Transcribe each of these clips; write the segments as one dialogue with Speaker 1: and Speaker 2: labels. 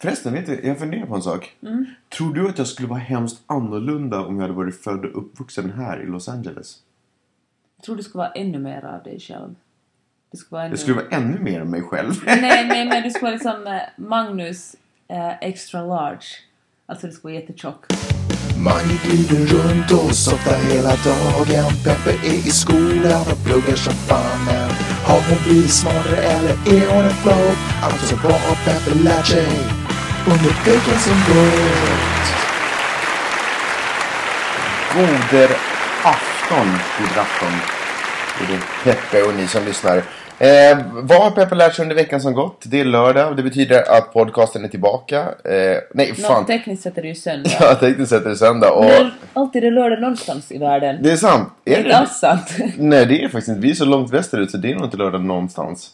Speaker 1: Förresten, vet du, jag funderar på en sak. Tror du att jag skulle vara hemskt annorlunda om jag hade varit född och uppvuxen här i Los Angeles?
Speaker 2: Jag tror du ska vara ännu mer av dig själv. Du ska vara ännu...
Speaker 1: Jag skulle vara ännu mer mig själv.
Speaker 2: Nej, nej, men du ska vara liksom eh, Magnus eh, extra large. Alltså du ska vara jättetjock.
Speaker 3: Man glider runt och softar hela dagen. Peppe är i skolan och pluggar som fan. Men Har hon blivit smartare eller är hon en flopp? Alltså vad har Peppe lärt sig under veckan som gått?
Speaker 4: Goder afton, god afton. Det är Peppe och ni som lyssnar. Eh, vad har Peppe lärt sig under veckan som gått? Det är lördag och det betyder att podcasten är tillbaka. Eh, nej,
Speaker 2: Nå,
Speaker 4: fan.
Speaker 2: tekniskt sett är det ju söndag.
Speaker 4: Jag tänkte sätta det söndag och...
Speaker 2: Men alltid är det lördag någonstans i världen.
Speaker 4: Det är sant.
Speaker 2: Det
Speaker 4: Är
Speaker 2: är inte
Speaker 4: det?
Speaker 2: alls sant.
Speaker 4: Nej, det är faktiskt inte. Vi är så långt västerut så det är nog inte lördag någonstans.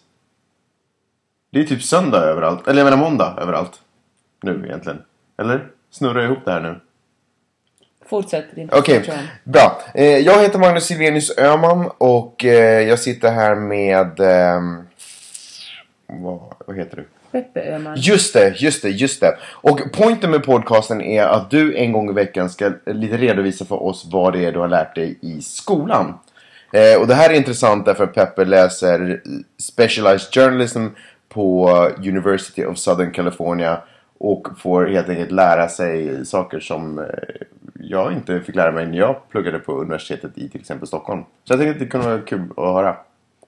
Speaker 4: Det är typ söndag överallt. Eller jag menar måndag överallt. Nu egentligen. Eller? Snurrar jag ihop det här nu?
Speaker 2: Fortsätt din
Speaker 4: Okej,
Speaker 2: presentation.
Speaker 4: bra. Eh, jag heter Magnus Silvenius Öhman och eh, jag sitter här med... ehm, vad, vad heter du?
Speaker 2: Peppe Öhman.
Speaker 4: Just det, just det, just det. Och poängen med podcasten är att du en gång i veckan ska lite redovisa för oss vad det är du har lärt dig i skolan. Eh, och det här är intressant därför att Peppe läser Specialized Journalism på University of Southern California och får helt enkelt lära sig saker som eh, jag inte fick lära mig när jag pluggade på universitetet i till exempel Stockholm. Så jag tänkte att det kunde vara kul att höra.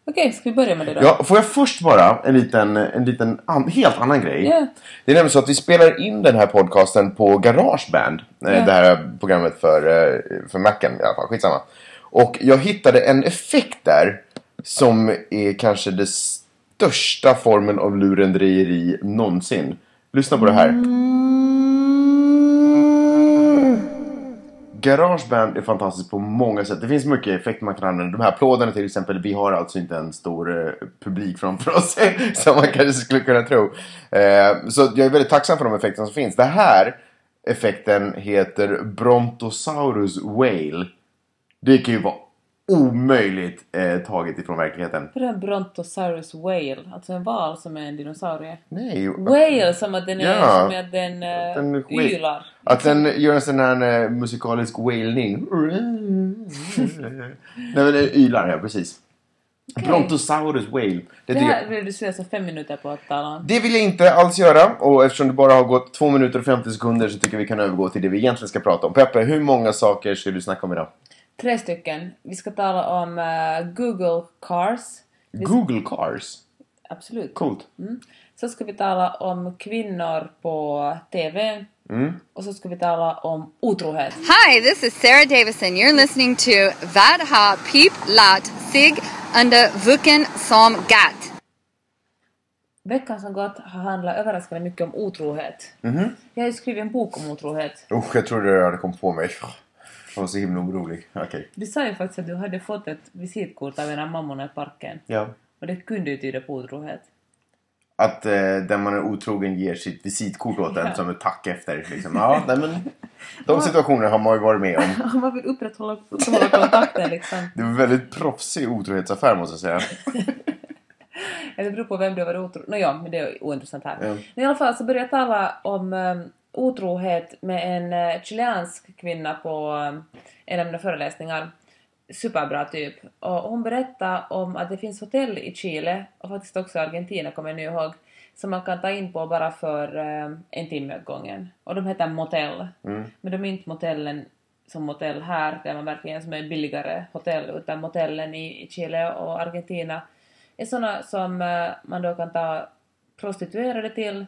Speaker 2: Okej, ska vi börja med det då?
Speaker 4: Ja, får jag först bara en liten, en liten an, helt annan grej.
Speaker 2: Ja.
Speaker 4: Det är nämligen så att vi spelar in den här podcasten på Garageband.
Speaker 2: Ja.
Speaker 4: Yeah. Det här programmet för, eh, för Macen i alla fall. Skitsamma. Och jag hittade en effekt där som är kanske den största formen av lurendrejeri någonsin. Lyssna på det här.
Speaker 2: Mm.
Speaker 4: Garageband är fantastiskt på många sätt. Det finns mycket effekter man kan använda. De här applåderna till exempel. Vi har alltså inte en stor eh, publik framför oss. som man kanske skulle kunna tro. Eh, så jag är väldigt tacksam för de effekterna som finns. Det här effekten heter Brontosaurus Whale. Det kan ju vara omöjligt eh, taget ifrån verkligheten.
Speaker 2: För en Brontosaurus whale, alltså en val som är en dinosaurie.
Speaker 4: Nej.
Speaker 2: Whale som att den är,
Speaker 4: Ja.
Speaker 2: som att den, eh,
Speaker 4: Den är skit.
Speaker 2: ylar.
Speaker 4: Att den gör en sån här eh, musikalisk wailning. Nej men det ylar ja, precis. Brontosaurus whale. Det,
Speaker 2: Det
Speaker 4: tycker
Speaker 2: här
Speaker 4: jag,
Speaker 2: reduceras till fem minuter på att tala om.
Speaker 4: det vill jag inte alls göra och eftersom det bara har gått 2 minuter och 50 sekunder så tycker jag vi kan övergå till det vi egentligen ska prata om. Peppe, hur många saker ska du snacka om idag?
Speaker 2: Tre stycken. Vi ska tala om eh, Google Cars.
Speaker 4: Google Cars.
Speaker 2: Absolut.
Speaker 4: Coolt.
Speaker 2: Så ska vi tala om kvinnor på TV.
Speaker 4: Mm.
Speaker 2: Och så ska vi tala om otrohet.
Speaker 5: Hi, this is Sarah Davison. You're listening to Vad har Pip lärt sig under vuken som gatt?
Speaker 2: Veckan som gått har handlat överraskande mycket om otrohet.
Speaker 4: Mhm.
Speaker 2: Jag har ju skrivit en bok om otrohet.
Speaker 4: Usch, jag trodde det hade kommit på mig. Jag var så himla orolig. Okej.
Speaker 2: Du sa ju faktiskt att du hade fått ett visitkort av en av mammorna i parken.
Speaker 4: Ja.
Speaker 2: Och det kunde ju tyda på otrohet.
Speaker 4: Att eh, den man är otrogen ger sitt visitkort åt en som ett tack efter. Liksom. Ja, nej, men, de situationerna har man ju varit med om.
Speaker 2: Man vill upprätthålla, upprätthålla kontakten liksom.
Speaker 4: Det var en väldigt proffsig otrohetsaffär måste jag säga.
Speaker 2: Det beror på vem du har varit otro... Nåja, men det är ointressant här.
Speaker 4: Ja.
Speaker 2: Men i alla fall så började jag tala om um, otrohet med en eh, chilensk kvinna på um, en av mina föreläsningar. Superbra typ. Och hon berättade om att det finns hotell i Chile och faktiskt också i Argentina kommer jag nu ihåg som man kan ta in på bara för um, en timme åt gången. Och de heter motell. Men de är inte motellen som motell här där man verkligen som är billigare hotell utan motellen i, i Chile och Argentina är såna som eh, man då kan ta prostituerade till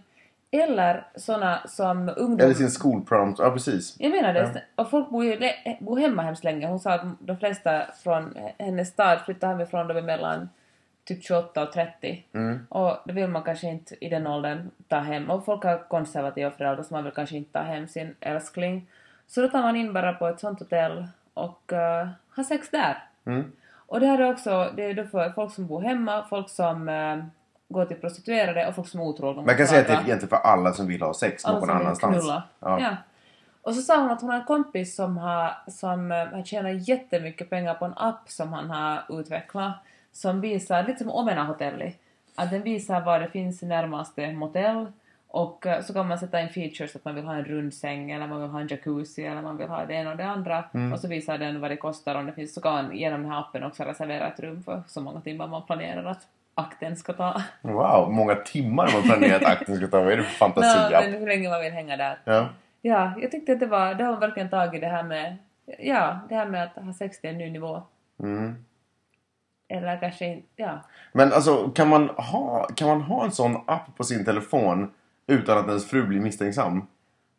Speaker 2: eller såna som
Speaker 4: Eller
Speaker 2: ungdomar...
Speaker 4: sin skolpromt. Ja, precis.
Speaker 2: Jag menar det. Och folk bor ju le- bor hemma hemskt länge. Hon sa att de flesta från hennes stad flyttar hemifrån de är mellan typ 28 och 30.
Speaker 4: Mm.
Speaker 2: Och det vill man kanske inte i den åldern ta hem. Och folk har konservativa föräldrar så man vill kanske inte ta hem sin älskling. Så då tar man in bara på ett sånt hotell och eh, har sex där.
Speaker 4: Mm.
Speaker 2: Och det här är också, det är då för folk som bor hemma, folk som eh, går till prostituerade och folk som är otrogna. mot
Speaker 4: Man kan säga att det är
Speaker 2: varandra.
Speaker 4: egentligen för alla som vill ha sex
Speaker 2: Alla
Speaker 4: någon
Speaker 2: som vill
Speaker 4: annanstans.
Speaker 2: Alltså, knulla. Ja.
Speaker 4: Ja.
Speaker 2: Och så sa hon att hon har en kompis som har, som eh, har tjänat jättemycket pengar på en app som han har utvecklat som visar, lite som Omena Hotelli, att den visar var det finns närmaste motell Och eh, så kan man sätta in features att man vill ha en rund säng eller man vill ha en jacuzzi eller man vill ha det ena och det andra.
Speaker 4: Mm.
Speaker 2: Och så visar den vad det kostar om det finns. Så kan man genom den här appen också reservera ett rum för så många timmar man planerar att akten ska ta.
Speaker 4: Wow, många timmar man planerat akten ska ta. Vad är det för
Speaker 2: Ja,
Speaker 4: fantasi?
Speaker 2: men hur länge man vill hänga där.
Speaker 4: Ja.
Speaker 2: Ja, jag tyckte att det var, det har verkligen tagit det här med, ja, det här med att ha sex till en ny nivå.
Speaker 4: Mm.
Speaker 2: Eller kanske inte, ja.
Speaker 4: Men alltså, kan man, ha, kan man ha en sån app på sin telefon utan att ens fru blir misstänksam?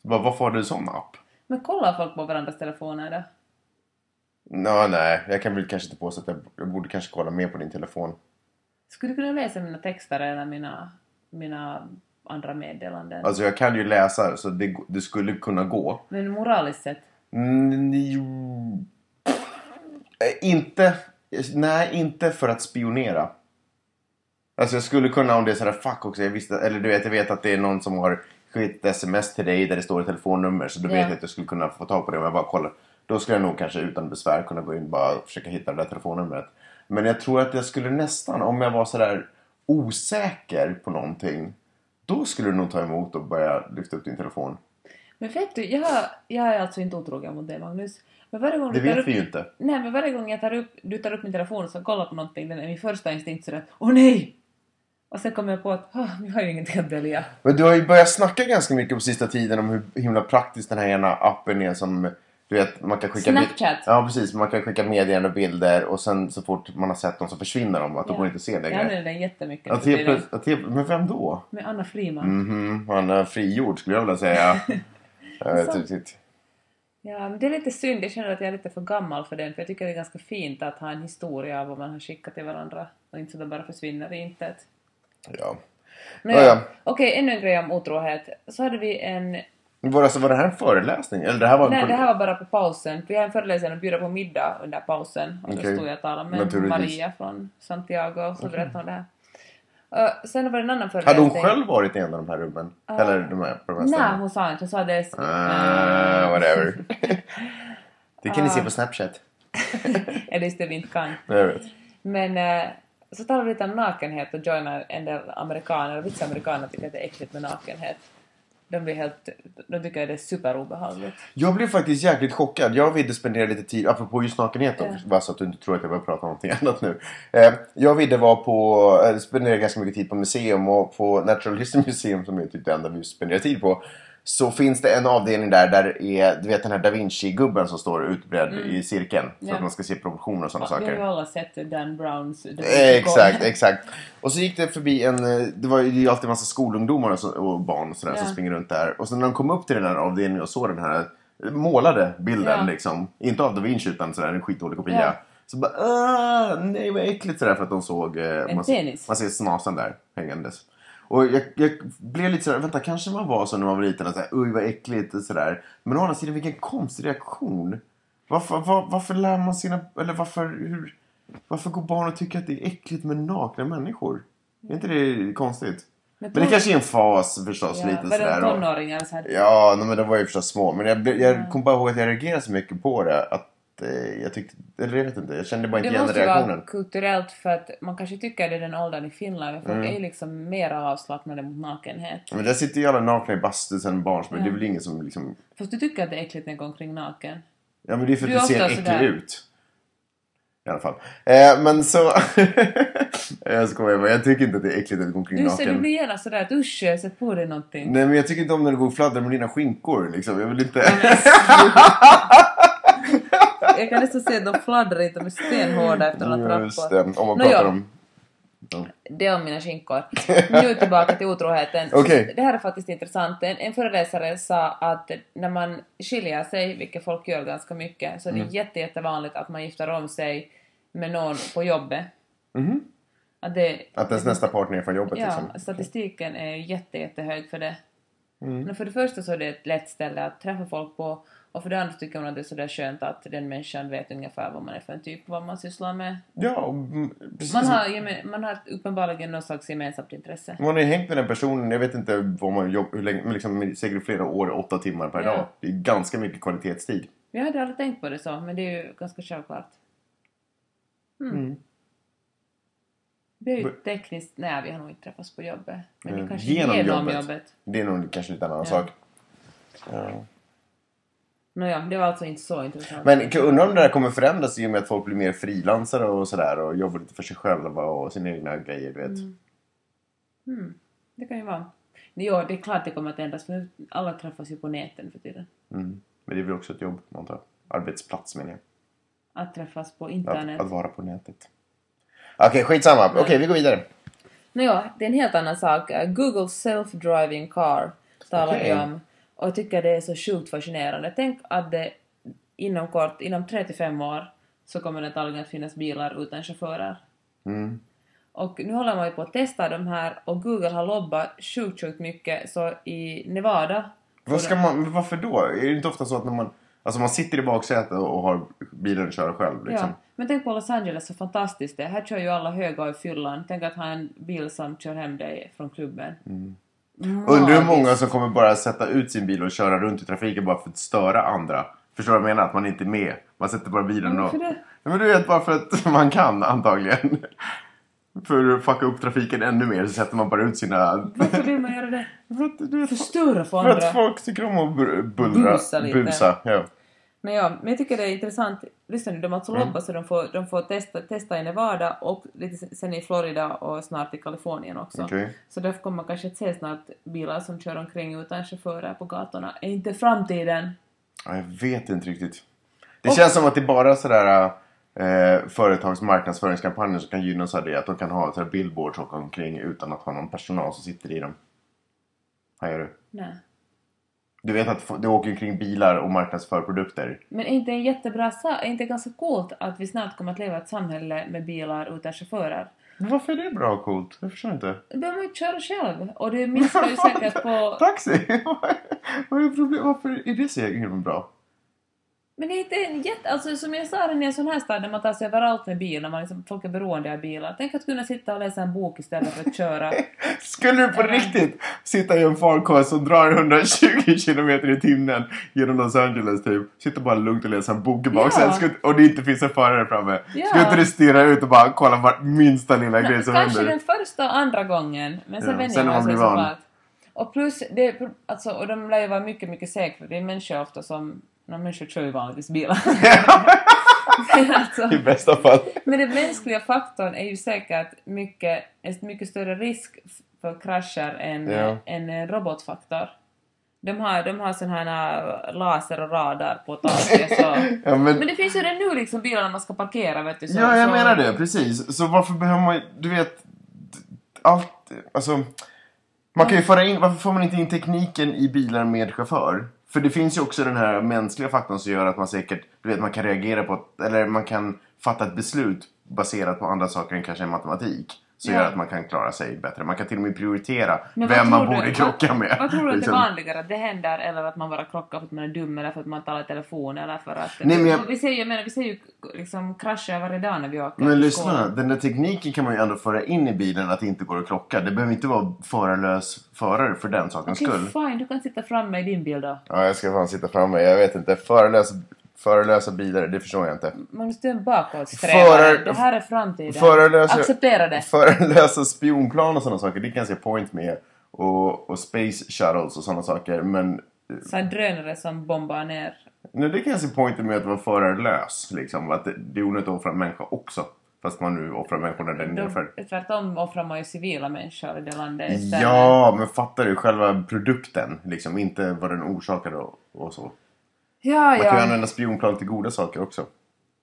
Speaker 4: Så Bara, varför har du en sån app?
Speaker 2: Men kollar folk på varandras telefoner då?
Speaker 4: Nå, nej, jag kan väl kanske inte påstå att jag, jag borde kanske kolla mer på din telefon.
Speaker 2: Skulle du kunna läsa mina texter eller mina, mina andra meddelanden?
Speaker 4: Alltså jag kan ju läsa så det, det skulle kunna gå.
Speaker 2: Men moraliskt sett?
Speaker 4: Mm, jo. Eh, Inte, nej inte för att spionera. Alltså jag skulle kunna om det är sådär fuck också, jag visste, eller du vet jag vet att det är någon som har skickat ett sms till dig där det står ett telefonnummer så då
Speaker 2: Ja.
Speaker 4: vet jag att jag skulle kunna få tag på det om jag bara kollar. Då skulle jag nog kanske utan besvär kunna gå in och bara försöka hitta det där telefonnumret. Men jag tror att jag skulle nästan, om jag var sådär osäker på någonting, då skulle du nog ta emot och börja lyfta upp din telefon.
Speaker 2: Men vet du, jag, jag är alltså inte otrogen mot dig Magnus. Men varje gång
Speaker 4: Det
Speaker 2: du tar
Speaker 4: vet
Speaker 2: upp,
Speaker 4: vi ju inte.
Speaker 2: Nej, men varje gång jag tar upp, du tar upp min telefon och ska kolla på någonting, den är min första instinkt sådär Åh nej! Och sen kommer jag på att "Ah, vi har ju ingenting att dölja.
Speaker 4: Men du har ju börjat snacka ganska mycket på sista tiden om hur himla praktisk den här ena appen är som du vet, man kan skicka bi-
Speaker 2: Snapchat.
Speaker 4: Ja, precis. Man kan skicka meddelanden och bilder och sen så fort man har sett dem så försvinner de. Att de
Speaker 2: Ja.
Speaker 4: går inte att se
Speaker 2: Jag
Speaker 4: längre. Alltså,
Speaker 2: använder den jättemycket. nu
Speaker 4: Att
Speaker 2: för
Speaker 4: helt
Speaker 2: tiden.
Speaker 4: plöts- att helt- Men vem då?
Speaker 2: Med Anna Friman.
Speaker 4: Mhm, han är frigjord skulle jag vilja säga. typ jag vet
Speaker 2: Så-
Speaker 4: inte riktigt.
Speaker 2: Ja, men det är lite synd. Jag känner att jag är lite för gammal för den, för jag tycker det är ganska fint att ha en historia av vad man har skickat till varandra och inte så det bara försvinner i intet.
Speaker 4: Ja.
Speaker 2: Men
Speaker 4: Ja, ja.
Speaker 2: Okej, ännu en grej om otrohet. Så hade vi en...
Speaker 4: Men Var, alltså, var det här en föreläsning? Eller det här var en
Speaker 2: Nej, det här var bara på pausen. Vi har en föreläsare och bjuder på middag under pausen. Och
Speaker 4: Okej.
Speaker 2: då stod jag och talade med
Speaker 4: Naturligtvis.
Speaker 2: Maria från Santiago och så berättade hon det här. Uh, sen var det en annan
Speaker 4: Hade
Speaker 2: föreläsning.
Speaker 4: hon själv varit i en av de här rummen?
Speaker 2: Ja.
Speaker 4: Eller de här, på de här
Speaker 2: Nej,
Speaker 4: ställena?
Speaker 2: hon sa inte. Hon sa det...
Speaker 4: Ah, whatever. det kan ni se på Snapchat.
Speaker 2: Eller just det vi inte kan.
Speaker 4: Jag vet.
Speaker 2: Men eh, så talar vi lite om nakenhet och joinar en del amerikaner. Och vissa amerikaner tycker att det är äckligt med nakenhet. De, blir helt, de tycker att det är superobehagligt.
Speaker 4: Jag blev faktiskt jäkligt chockad. Jag och Vidde spenderade lite tid, apropå just nakenhet då,
Speaker 2: Ja.
Speaker 4: bara så att du inte tror att jag börjar prata om någonting annat nu. Eh, jag och Vidde var på, eh, spenderade ganska mycket tid på museum och på Natural History Museum som är typ det enda vi spenderar tid på. Så finns det en avdelning där, där är, du vet den här da Vinci-gubben som står utbredd i cirkeln. Så
Speaker 2: Mm. Ja.
Speaker 4: att man ska se proportioner och sådana
Speaker 2: Vi
Speaker 4: saker.
Speaker 2: har ju alla sett Dan Browns The
Speaker 4: Eh, Exakt, exakt. Och så gick det förbi en, eh, det var ju det är ju alltid en massa skolungdomar och, så, och barn och sådär
Speaker 2: Ja.
Speaker 4: som springer runt där. Och sen när de kom upp till den här avdelningen och såg den här målade bilden
Speaker 2: Ja.
Speaker 4: liksom. Inte av Da Vinci utan sådär en skitdålig kopia.
Speaker 2: Ja.
Speaker 4: Så bara "Ah, nej vad äckligt sådär för att de såg, eh, man, ser-
Speaker 2: penis.
Speaker 4: man ser snasen där hängandes. Och jag, jag blev lite sådär, vänta kanske man var så när man var liten att såhär, uj vad äckligt och sådär. Men å andra sidan vilken konstig reaktion. Varför, var, varför lär man sina, eller varför, hur, varför går barn och tycker att det är äckligt med nakna människor? Är inte det konstigt?
Speaker 2: Men
Speaker 4: Men, det kanske är en fas förstås
Speaker 2: ja,
Speaker 4: lite
Speaker 2: var det
Speaker 4: sådär. och-
Speaker 2: tonåringar så här?
Speaker 4: Ja, nej, men de var ju förstås små. Men jag, blev- jag kom bara ihåg att jag reagerade så mycket på det att eh, jag tyckte, eller jag vet inte, jag kände bara inte
Speaker 2: Det
Speaker 4: igen den
Speaker 2: måste ju vara
Speaker 4: reaktionen.
Speaker 2: kulturellt för att man kanske tycker det är den åldern i Finland. Men folk
Speaker 4: Mm.
Speaker 2: är ju liksom mer avslappnade mot nakenhet.
Speaker 4: Men där sitter ju alla nakna i bastun sen barns, men
Speaker 2: Ja.
Speaker 4: det är väl ingen som liksom...
Speaker 2: Fast du tycker att det är äckligt när jag går omkring naken?
Speaker 4: Ja, men det är för att
Speaker 2: Du
Speaker 4: du
Speaker 2: är
Speaker 4: ser
Speaker 2: ofta
Speaker 4: äcklig
Speaker 2: sådär.
Speaker 4: ut. I alla fall. Eh, men så... jag skojar bara, jag tycker inte att det är äckligt att gå omkring
Speaker 2: Du, ser, du
Speaker 4: naken.
Speaker 2: blir gärna sådär att usch, jag sätter på dig någonting.
Speaker 4: Nej men jag tycker inte om när du går och fladdrar med dina skinkor liksom. Jag vill inte...
Speaker 2: Jag kan nästan se att de fladdrar hit, de är stenhårda efter några trappor.
Speaker 4: Just det, om man
Speaker 2: Nåja,
Speaker 4: pratar om...
Speaker 2: det om mina skinkor. Nu tillbaka till otroheten.
Speaker 4: Okej.
Speaker 2: Det här är faktiskt intressant. En, en föreläsare sa att när man skiljer sig, vilket folk gör ganska mycket, så är det
Speaker 4: Mm.
Speaker 2: jätte, jättevanligt att man gifter om sig med någon på jobbet.
Speaker 4: Mhm.
Speaker 2: Att det,
Speaker 4: Att ens nästa partner är från jobbet
Speaker 2: ja,
Speaker 4: liksom.
Speaker 2: statistiken är jätte, jättehög för det.
Speaker 4: Mm.
Speaker 2: Men för det första så är det ett lätt ställe att träffa folk på och för det andra tycker man att det är sådär skönt att den människan vet ungefär vad man är för en typ och vad man sysslar med.
Speaker 4: Ja, och, mm, precis.
Speaker 2: Man har, geme- man har uppenbarligen någon slags gemensamt intresse.
Speaker 4: Man har ju hängt med den personen, jag vet inte vad man jobb, hur länge, men liksom, säkert flera år, åtta timmar per
Speaker 2: Ja.
Speaker 4: dag. Det är ganska mycket kvalitetstid.
Speaker 2: Jag hade aldrig tänkt på det så, men det är ju ganska självklart. Mm. Vi är ju tekniskt... Nej, vi har nog inte träffats på jobbet. Men
Speaker 1: Eh,
Speaker 2: vi kanske
Speaker 1: genom
Speaker 2: genom,
Speaker 1: jobbet.
Speaker 2: genom jobbet.
Speaker 4: Det är nog kanske lite annan
Speaker 2: Ja.
Speaker 4: sak. Ja.
Speaker 2: Nåja, det var alltså inte så intressant.
Speaker 4: Men jag undrar om det där kommer förändras i och med att folk blir mer frilansare och sådär och jobbar lite för sig själva och sina egna grejer, du vet.
Speaker 2: Mm. Det kan ju vara. Jo, det är klart det kommer att ändras för nu alla träffas ju på nätet för tiden.
Speaker 4: Mm. Men det är väl också ett jobb, antar jag. Arbetsplats menar jag.
Speaker 2: Att träffas på
Speaker 4: Att,
Speaker 2: internet.
Speaker 4: att vara på nätet. Okej, skitsamma. Okej, vi går vidare.
Speaker 2: Nåja, det är en helt annan sak. Eh, Google self-driving car talar vi
Speaker 4: Okej.
Speaker 2: om. Och jag tycker det är så sjukt fascinerande. Tänk att det inom kort, inom 35 år, så kommer det antagligen att finnas bilar utan chaufförer.
Speaker 4: Mm.
Speaker 2: Och nu håller man ju på att testa de här och Google har lobbat sjukt, sjukt mycket. Så i Nevada...
Speaker 4: Vad ska man, men varför då? Är det inte ofta så att när man, alltså man sitter i baksätet och har bilen och kör själv liksom?
Speaker 2: Ja, men tänk på Los Angeles, så fantastiskt det är. Här kör ju alla höga i fyllan. Tänk att ha en bil som kör hem dig från klubben.
Speaker 4: Mm. Undrar hur många
Speaker 2: Magiskt.
Speaker 4: som kommer bara sätta ut sin bil och köra runt i trafiken bara för att störa andra. Förstår du vad jag menar? Att man inte är med. Man sätter bara bilen
Speaker 2: Men
Speaker 4: och...
Speaker 2: varför det?
Speaker 4: Ja, Men du vet, bara för att man kan antagligen. För att fucka upp trafiken ännu mer så sätter man bara ut sina...
Speaker 2: Varför vill man göra det?
Speaker 4: För att, du vet,
Speaker 2: Förstöra för
Speaker 4: för
Speaker 2: andra.
Speaker 4: att folk tycker om att bu- bullra.
Speaker 2: Busa lite.
Speaker 4: Busa, ja.
Speaker 2: Men ja, men jag tycker det är intressant. Lyssna nu, de har alltså lobbat så de får, de får testa, testa i Nevada och lite sen- sen i Florida och snart i Kalifornien också.
Speaker 4: Okej.
Speaker 2: Så därför kommer man kanske att se snart bilar som kör omkring utan chaufförer på gatorna. Är inte framtiden?
Speaker 4: Ja, Jag vet inte riktigt. Det känns som att det är bara sådär eh, företags marknadsföringskampanjer som kan gynnas av det. Att de kan ha sådär billboards och åka omkring utan att ha någon personal som sitter i dem. Vad gör du?
Speaker 2: Nej.
Speaker 4: Du vet att f- det åker omkring bilar och marknadsför produkter.
Speaker 2: Men är inte en jättebra sak, är inte ganska coolt att vi snart kommer att leva i ett samhälle med bilar utan chaufförer?
Speaker 4: Men varför är det bra och coolt? Jag förstår inte.
Speaker 2: Då behöver man ju inte köra själv och det minskar ju säkert på...
Speaker 4: Taxi! Vad är problemet? Varför är det så himla bra?
Speaker 2: Men det är inte en jätte... Alltså som jag sa, det är en sån här stad där man tar sig överallt med bil, när man liksom, folk är beroende av bilar. Tänk att kunna sitta och läsa en bok istället för att köra.
Speaker 4: Skulle du på riktigt sitta i en farkost som drar 120 kilometer i timmen genom Los Angeles typ. Sitta bara lugnt och läsa en bok i baksätet
Speaker 2: Ja.
Speaker 4: skulle- och det inte finns en förare framme.
Speaker 2: Ja.
Speaker 4: Skulle inte du stirra ut och bara kolla vart minsta lilla grej som
Speaker 2: Kanske
Speaker 4: händer?
Speaker 2: den första och andra gången, men sen
Speaker 4: Ja,
Speaker 2: vänjer
Speaker 4: sen när
Speaker 2: man
Speaker 4: man
Speaker 2: sig
Speaker 4: blir van.
Speaker 2: såklart. Och plus, det, är- alltså, och de lär ju vara mycket, mycket säkrare. Det är människor ofta som... No, människor kör ju vanligtvis bilar. Men alltså,
Speaker 4: I bästa fall.
Speaker 2: Men den mänskliga faktorn är ju säkert mycket, en mycket större risk f- för krascher än,
Speaker 4: Ja.
Speaker 2: än en robotfaktor. De har, de har sån här laser och radar på taket så...
Speaker 4: Ja, men...
Speaker 2: Men det finns ju redan nu liksom bilar när man ska parkera vet du. Så,
Speaker 4: ja, jag
Speaker 2: så...
Speaker 4: menar det. Precis. Så varför behöver man... Du vet... Allt... Alltså... Man kan ju föra in... Varför får man inte in tekniken i bilar med chaufför? För det finns ju också den här mänskliga faktorn som gör att man säkert... Du vet, man kan reagera på... ett- Eller man kan fatta ett beslut baserat på andra saker än kanske matematik. Som
Speaker 2: Ja.
Speaker 4: gör att man kan klara sig bättre. Man kan till och med prioritera
Speaker 2: Men vad
Speaker 4: vem man
Speaker 2: tror du-
Speaker 4: borde krocka med.
Speaker 2: Vad, vad tror du att det är
Speaker 4: liksom.
Speaker 2: vanligare att det händer eller att man bara krockar för att man är dum eller för att man talar i telefon eller för att...
Speaker 4: Nej, men jag-
Speaker 2: vi, ser ju, jag menar, vi ser ju liksom krascher varje dag när vi åker.
Speaker 4: Men
Speaker 2: till
Speaker 4: lyssna,
Speaker 2: skolan.
Speaker 4: den där tekniken kan man ju ändå föra in i bilen att det inte går att krocka. Det behöver inte vara förarlös förare för den sakens
Speaker 2: Okej,
Speaker 4: skull.
Speaker 2: fine, du kan sitta framme i din bil då.
Speaker 4: Ja, jag ska fan sitta framme. Jag vet inte. Förelösa, förelösa bilar, det förstår jag inte.
Speaker 2: Man måste ju en bakåtsträvare.
Speaker 4: Förar-
Speaker 2: det här är framtiden.
Speaker 4: Förelösa,
Speaker 2: Acceptera det.
Speaker 4: Förelösa spionplan och sådana saker, det kan jag se point med. Och, och space shuttles och sådana saker. Men
Speaker 2: Så här drönare som bombar ner.
Speaker 4: nej, det kan jag se point med att vara förarlös. Liksom. Att det, det är onödigt att offra en människa också. Fast man nu offrar människorna där nedanför.
Speaker 2: De, tvärtom offrar man ju civila människor i det landet istället.
Speaker 4: Ja, men fattar du? Själva produkten, liksom. Inte vad den orsakade och, och så.
Speaker 2: ja,
Speaker 4: Man kan ju
Speaker 2: ja.
Speaker 4: använda spionplan till goda saker också.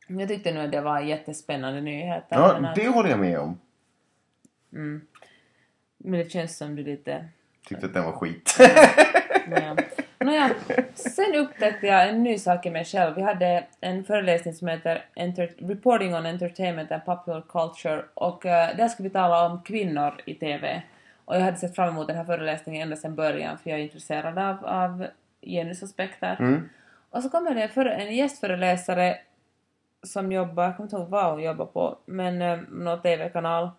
Speaker 2: Jag tyckte nog att det var jättespännande nyheter. men, alltså-
Speaker 4: Ja,
Speaker 2: att-
Speaker 4: det håller jag med om.
Speaker 2: men det känns som du lite...
Speaker 4: Tyckte att den var skit.
Speaker 2: Nåja. Nåja. Sen upptäckte jag en ny sak i mig själv. Vi hade en föreläsning som heter Enter- Reporting on Entertainment and Popular Culture och eh, där skulle vi tala om kvinnor i TV. Och jag hade sett fram emot den här föreläsningen ända sedan början för jag är intresserad av, av genusaspekter. Och så kommer det en, före, en gästföreläsare som jobbar, jag kommer inte ihåg vad hon jobbar på, men eh, någon TV-kanal.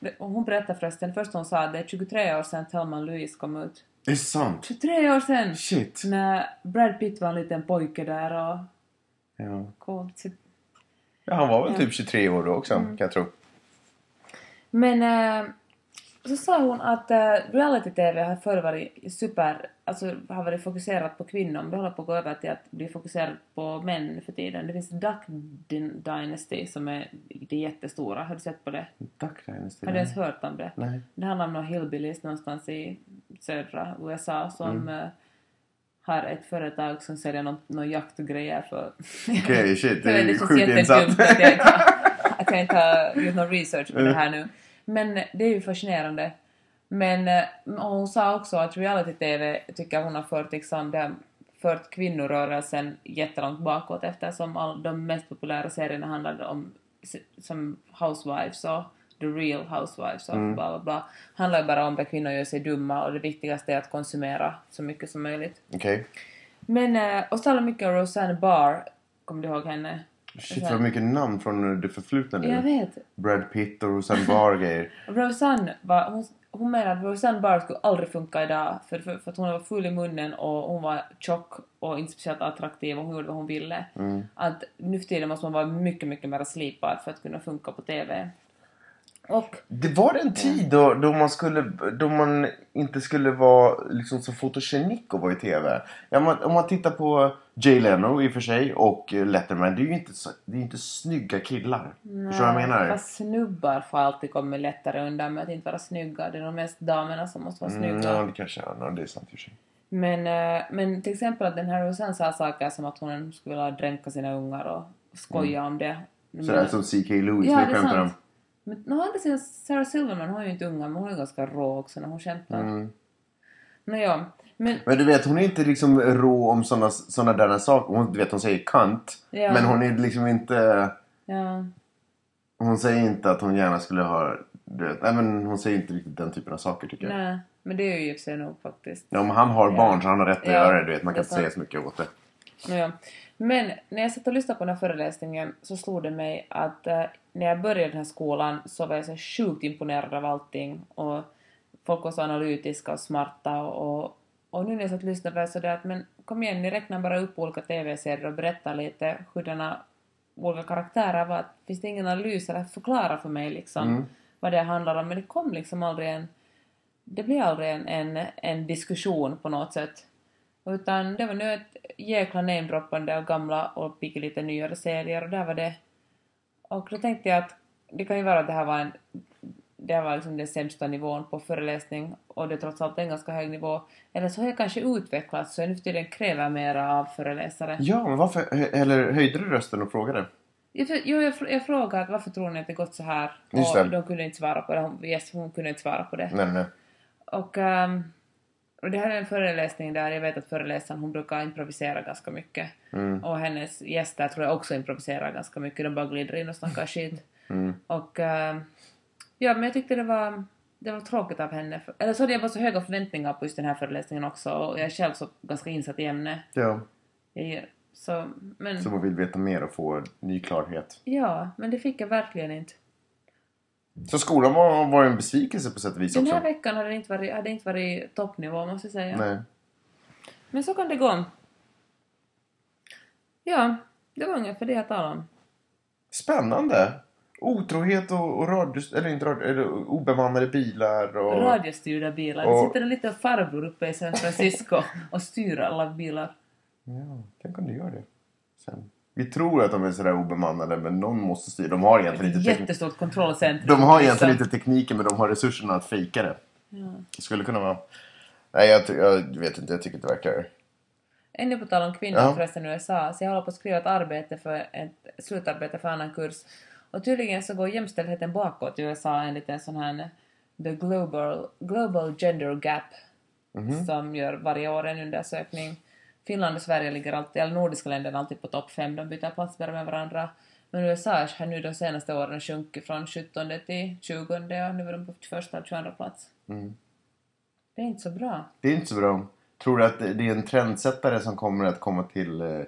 Speaker 2: Det- och Hon berättade förresten, först hon sa att det är 23 år sedan Thelma and Louise kom ut.
Speaker 4: det är sant.
Speaker 2: 23 år sedan!
Speaker 4: Shit.
Speaker 2: När Brad Pitt var en liten pojke där och...
Speaker 4: Ja.
Speaker 2: coolt. Så- Mm.
Speaker 4: Ja, han var väl typ 23 år då också, kan jag tro.
Speaker 2: Men eh, så sa hon att eh, reality-tv har förr varit super, alltså har varit fokuserat på kvinnor men det håller på att gå över till att bli fokuserat på män för tiden. Det finns Duck Din- Dynasty som är, det är jättestora, har du sett på det?
Speaker 1: Duck Dynasty.
Speaker 2: Har du ens hört om det?
Speaker 1: Nej.
Speaker 2: Det handlar om några hillbillies någonstans i södra USA som eh, har ett företag som säljer någon, någon jaktgrejer för...
Speaker 1: Okej, shit,
Speaker 2: Jag vet,
Speaker 1: det är
Speaker 2: känns
Speaker 1: sjukt
Speaker 2: jättedumt
Speaker 1: insatt.
Speaker 2: Att jag, inte har- att jag inte har gjort någon research på det här nu. Men det är ju fascinerande. Men eh, och hon sa också att reality-tv tycker hon har fört, liksom, det har fört kvinnorörelsen jättelångt bakåt eftersom all, de mest populära serierna handlade om s- som Housewives och The Real Housewives och
Speaker 1: Mm.
Speaker 2: bla bla bla. Handlar ju bara om att kvinnor gör sig dumma och det viktigaste är att konsumera så mycket som möjligt.
Speaker 4: Okej.
Speaker 2: Men, eh, och så talar mycket om Roseanne Barr. Kommer du ihåg henne?
Speaker 4: Shit vad mycket namn från det förflutna nu.
Speaker 2: Alltså- Jag vet.
Speaker 4: Brad Pitt och Roseanne Barr och grejer.
Speaker 2: Roseanne var, hon, hon menade att Roseanne Barr skulle aldrig funka idag för, för, för att hon var full i munnen och hon var tjock och inte speciellt attraktiv och hon gjorde vad hon ville.
Speaker 4: Mm.
Speaker 2: Att nu för tiden måste man vara mycket, mycket mer slipad för att kunna funka på TV. Och
Speaker 4: Det var en tid då, då, man skulle, då man inte skulle vara liksom så fotogenik och vara i TV. Ja, man, om man tittar på Jay Leno i och för sig och eh, Letterman. Det är ju inte, så, det är ju inte snygga killar. Förstår du vad jag menar?
Speaker 2: Fast snubbar får alltid komma lättare undan med att inte vara snygga. Det är de mest damerna som måste vara snygga.
Speaker 4: Mm, ja, det kanske är. Ja, det är sant i och för sig.
Speaker 2: Men, eh, men till exempel att den här Roseanne sa saker som att hon skulle vilja dränka sina ungar och skoja
Speaker 4: Mm.
Speaker 2: om det.
Speaker 4: Sådär alltså som C.K. Lewis.
Speaker 2: Mm. ja,
Speaker 4: nu
Speaker 2: det är
Speaker 4: skämtar de.
Speaker 2: sant. Men å andra sidan, Sarah Silverman hon är ju inte unga men hon är ganska rå också när hon skämtar.
Speaker 4: Mm.
Speaker 2: Nåja, men
Speaker 4: Men du vet, hon är inte liksom rå om sådana såna där saker. Hon, du vet, hon säger kant.
Speaker 2: Ja.
Speaker 4: Men hon är liksom inte...
Speaker 2: ja.
Speaker 4: Hon säger inte att hon gärna skulle ha... Du vet, nej, men hon säger inte riktigt den typen av saker tycker jag.
Speaker 2: Nej, men det är ju i och för sig nog faktiskt.
Speaker 4: Ja, om han har barn så han har rätt att
Speaker 2: Ja,
Speaker 4: göra det. Du vet, man
Speaker 2: det är
Speaker 4: kan inte
Speaker 2: sant.
Speaker 4: säga så mycket åt det.
Speaker 2: Nåja. Men när jag satt och lyssnade på den här föreläsningen så slog det mig att eh, när jag började den här skolan så var jag så sjukt imponerad av allting och folk var så analytiska och smarta och, och nu när jag satt och lyssnade var jag sådär att men kom igen, ni räknar bara upp olika TV-serier och berättar lite hurdana olika karaktärer var. Finns det ingen analys eller förklara för mig liksom
Speaker 4: Mm.
Speaker 2: vad det handlar om? Men det kom liksom aldrig en det blev aldrig en, en, en diskussion på något sätt. Utan det var nu ett jäkla namedroppande av gamla och fick lite nyare serier och där var det. Och då tänkte jag att det kan ju vara att det här var en det här var liksom den sämsta nivån på föreläsning och det är trots allt en ganska hög nivå. Eller så har jag kanske utvecklats så jag nu för tiden kräver mera av föreläsare.
Speaker 4: Ja, men varför... hö- Eller höjde du rösten och frågade?
Speaker 2: Jag, för- jo, jag, fr- jag frågade att varför tror ni att det gått så här?
Speaker 4: Just
Speaker 2: Och
Speaker 4: det.
Speaker 2: de kunde inte svara på det. Hon, yes, hon kunde inte svara på det.
Speaker 4: Nej, nej, nej.
Speaker 2: Och, ehm, och det här är en föreläsning där jag vet att föreläsaren hon brukar improvisera ganska mycket.
Speaker 4: Mm.
Speaker 2: Och hennes gäster tror jag också improviserar ganska mycket. De bara glider in och snackar skit.
Speaker 4: Mm.
Speaker 2: Och ehm, ja, men jag tyckte det var, det var tråkigt av henne. För- Eller så hade jag bara så höga förväntningar på just den här föreläsningen också. Och jag är själv så ganska insatt i ämnet.
Speaker 4: Ja.
Speaker 2: Jag- Så, men,
Speaker 4: Så man vill veta mer och få ny klarhet.
Speaker 2: Ja, men det fick jag verkligen inte.
Speaker 4: Så skolan var, var en besvikelse på sätt och vis
Speaker 2: Den
Speaker 4: också.
Speaker 2: här veckan hade det inte varit, hade det inte varit toppnivå måste jag säga.
Speaker 4: Nej.
Speaker 2: Men så kan det gå. Ja, det var ungefär det jag talade om.
Speaker 4: Spännande! Otrohet och, och radios... Eller inte radio... Eller obemannade bilar och...
Speaker 2: Radiostyrda bilar.
Speaker 4: och-
Speaker 2: Det sitter en liten farbror uppe i San Francisco och styr alla bilar.
Speaker 4: Ja, tänk om du gör det. Sen. Vi tror att de är sådär obemannade men någon måste styra. De har egentligen inte, teknik-
Speaker 2: Jättestort kontrollcentrum. Alltså.
Speaker 4: de har egentligen
Speaker 2: Liksom.
Speaker 4: inte tekniken men de har resurserna att fejka det. Det skulle kunna vara... Nej, jag, ty- jag vet inte. Jag tycker det verkar...
Speaker 2: Ännu på tal om kvinnor
Speaker 4: Ja.
Speaker 2: förresten i USA, så jag håller på att skriva ett arbete för ett slutarbete för en annan kurs. Och tydligen så går jämställdheten bakåt i USA enligt en sån här The Global, global Gender Gap som gör varje år en undersökning. Finland och Sverige ligger alltid, eller nordiska länderna alltid på topp fem, de byter plats bara med varandra. Men USA har nu de senaste åren sjunkit från 17 till 20 och nu är de på första och 22 plats. Det är inte så bra.
Speaker 4: Det är inte så bra. Tror du att det det är en trendsättare som kommer att komma till... eh,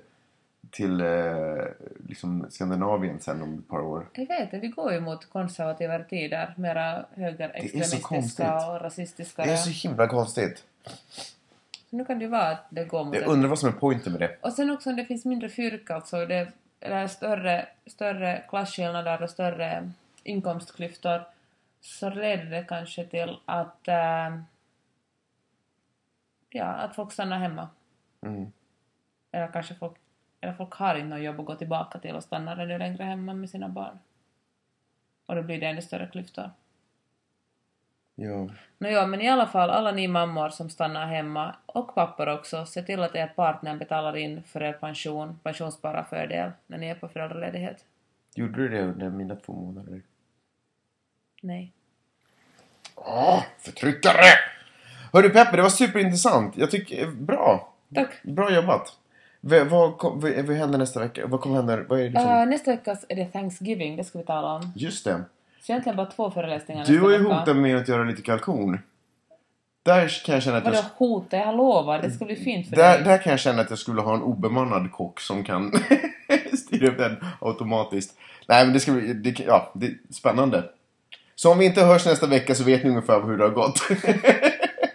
Speaker 4: Till eh, liksom Skandinavien sen om ett par år?
Speaker 2: Jag vet inte, vi går ju mot konservativare tider. Mera
Speaker 4: konstigt.
Speaker 2: högerextremistiska och rasistiska.
Speaker 4: Det är
Speaker 2: så...
Speaker 4: så himla konstigt.
Speaker 2: nu kan det ju vara att det går mot...
Speaker 4: Jag
Speaker 2: Det
Speaker 4: undrar vad som är pointen med det.
Speaker 2: och sen också om det finns mindre fyrkant så det eller större, större klasskillnader och större inkomstklyftor så leder det kanske till att, eh, ja, att folk stannar hemma.
Speaker 4: Mm.
Speaker 2: Eller kanske folk, eller folk har inte något jobb att gå tillbaka till och stannar ännu längre hemma med sina barn. Och då blir det ännu större klyftor.
Speaker 4: Ja.
Speaker 2: Nåja, men i alla fall, alla ni mammor som stannar hemma, och pappor också, se till att er partner betalar in för er pension, pensionsspararfördel, när ni är på föräldraledighet.
Speaker 4: Gjorde du det under mina två månader?
Speaker 2: Nej.
Speaker 4: Åh, förtryckare! Hörru Peppe, det var superintressant. Jag tycker, eh, bra.
Speaker 2: Tack!
Speaker 4: Bra jobbat. V- vad, kom, vad, vad händer nästa vecka? Vad kommer hända? Vad är liksom...
Speaker 2: Eh, nästa vecka är det Thanksgiving, det ska vi tala om.
Speaker 4: Just det.
Speaker 2: Så egentligen bara två föreläsningar
Speaker 4: Du
Speaker 2: nästa
Speaker 4: har ju
Speaker 2: vecka.
Speaker 4: hotat med att göra lite kalkon. Där kan jag känna att jag...
Speaker 2: Vadå hota? Jag lovar, det ska bli fint för
Speaker 4: Där,
Speaker 2: dig.
Speaker 4: där kan jag känna att jag skulle ha en obemannad kock som kan styra upp den automatiskt. Nej men det ska bli, det, ja, det är spännande. Så om vi inte hörs nästa vecka så vet ni ungefär hur det har gått.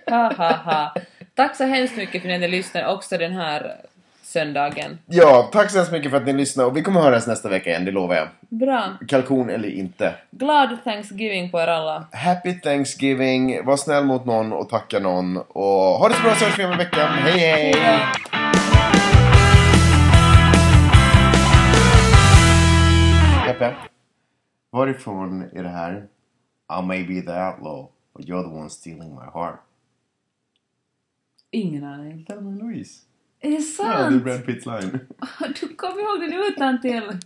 Speaker 2: Ha, ha, ha. Tack så hemskt mycket för att ni lyssnade också den här söndagen.
Speaker 4: ja, tack så hemskt mycket för att ni lyssnade och vi kommer höras nästa vecka igen, det lovar jag.
Speaker 2: Bra.
Speaker 4: Kalkon eller inte.
Speaker 2: Glad Thanksgiving på er alla.
Speaker 4: Happy Thanksgiving, var snäll mot någon och tacka någon och ha det så bra så hörs vi om en vecka. hej! hej.
Speaker 2: Hejdå.
Speaker 4: Peppe, varifrån är det här? I may be the outlaw, but you're the one stealing my heart.
Speaker 2: Ingen aning.
Speaker 4: Thelma Louise.
Speaker 2: Är det
Speaker 4: Ja, det är
Speaker 2: sant?
Speaker 4: Brad Pitts line.
Speaker 2: Du kommer ihåg den utan till.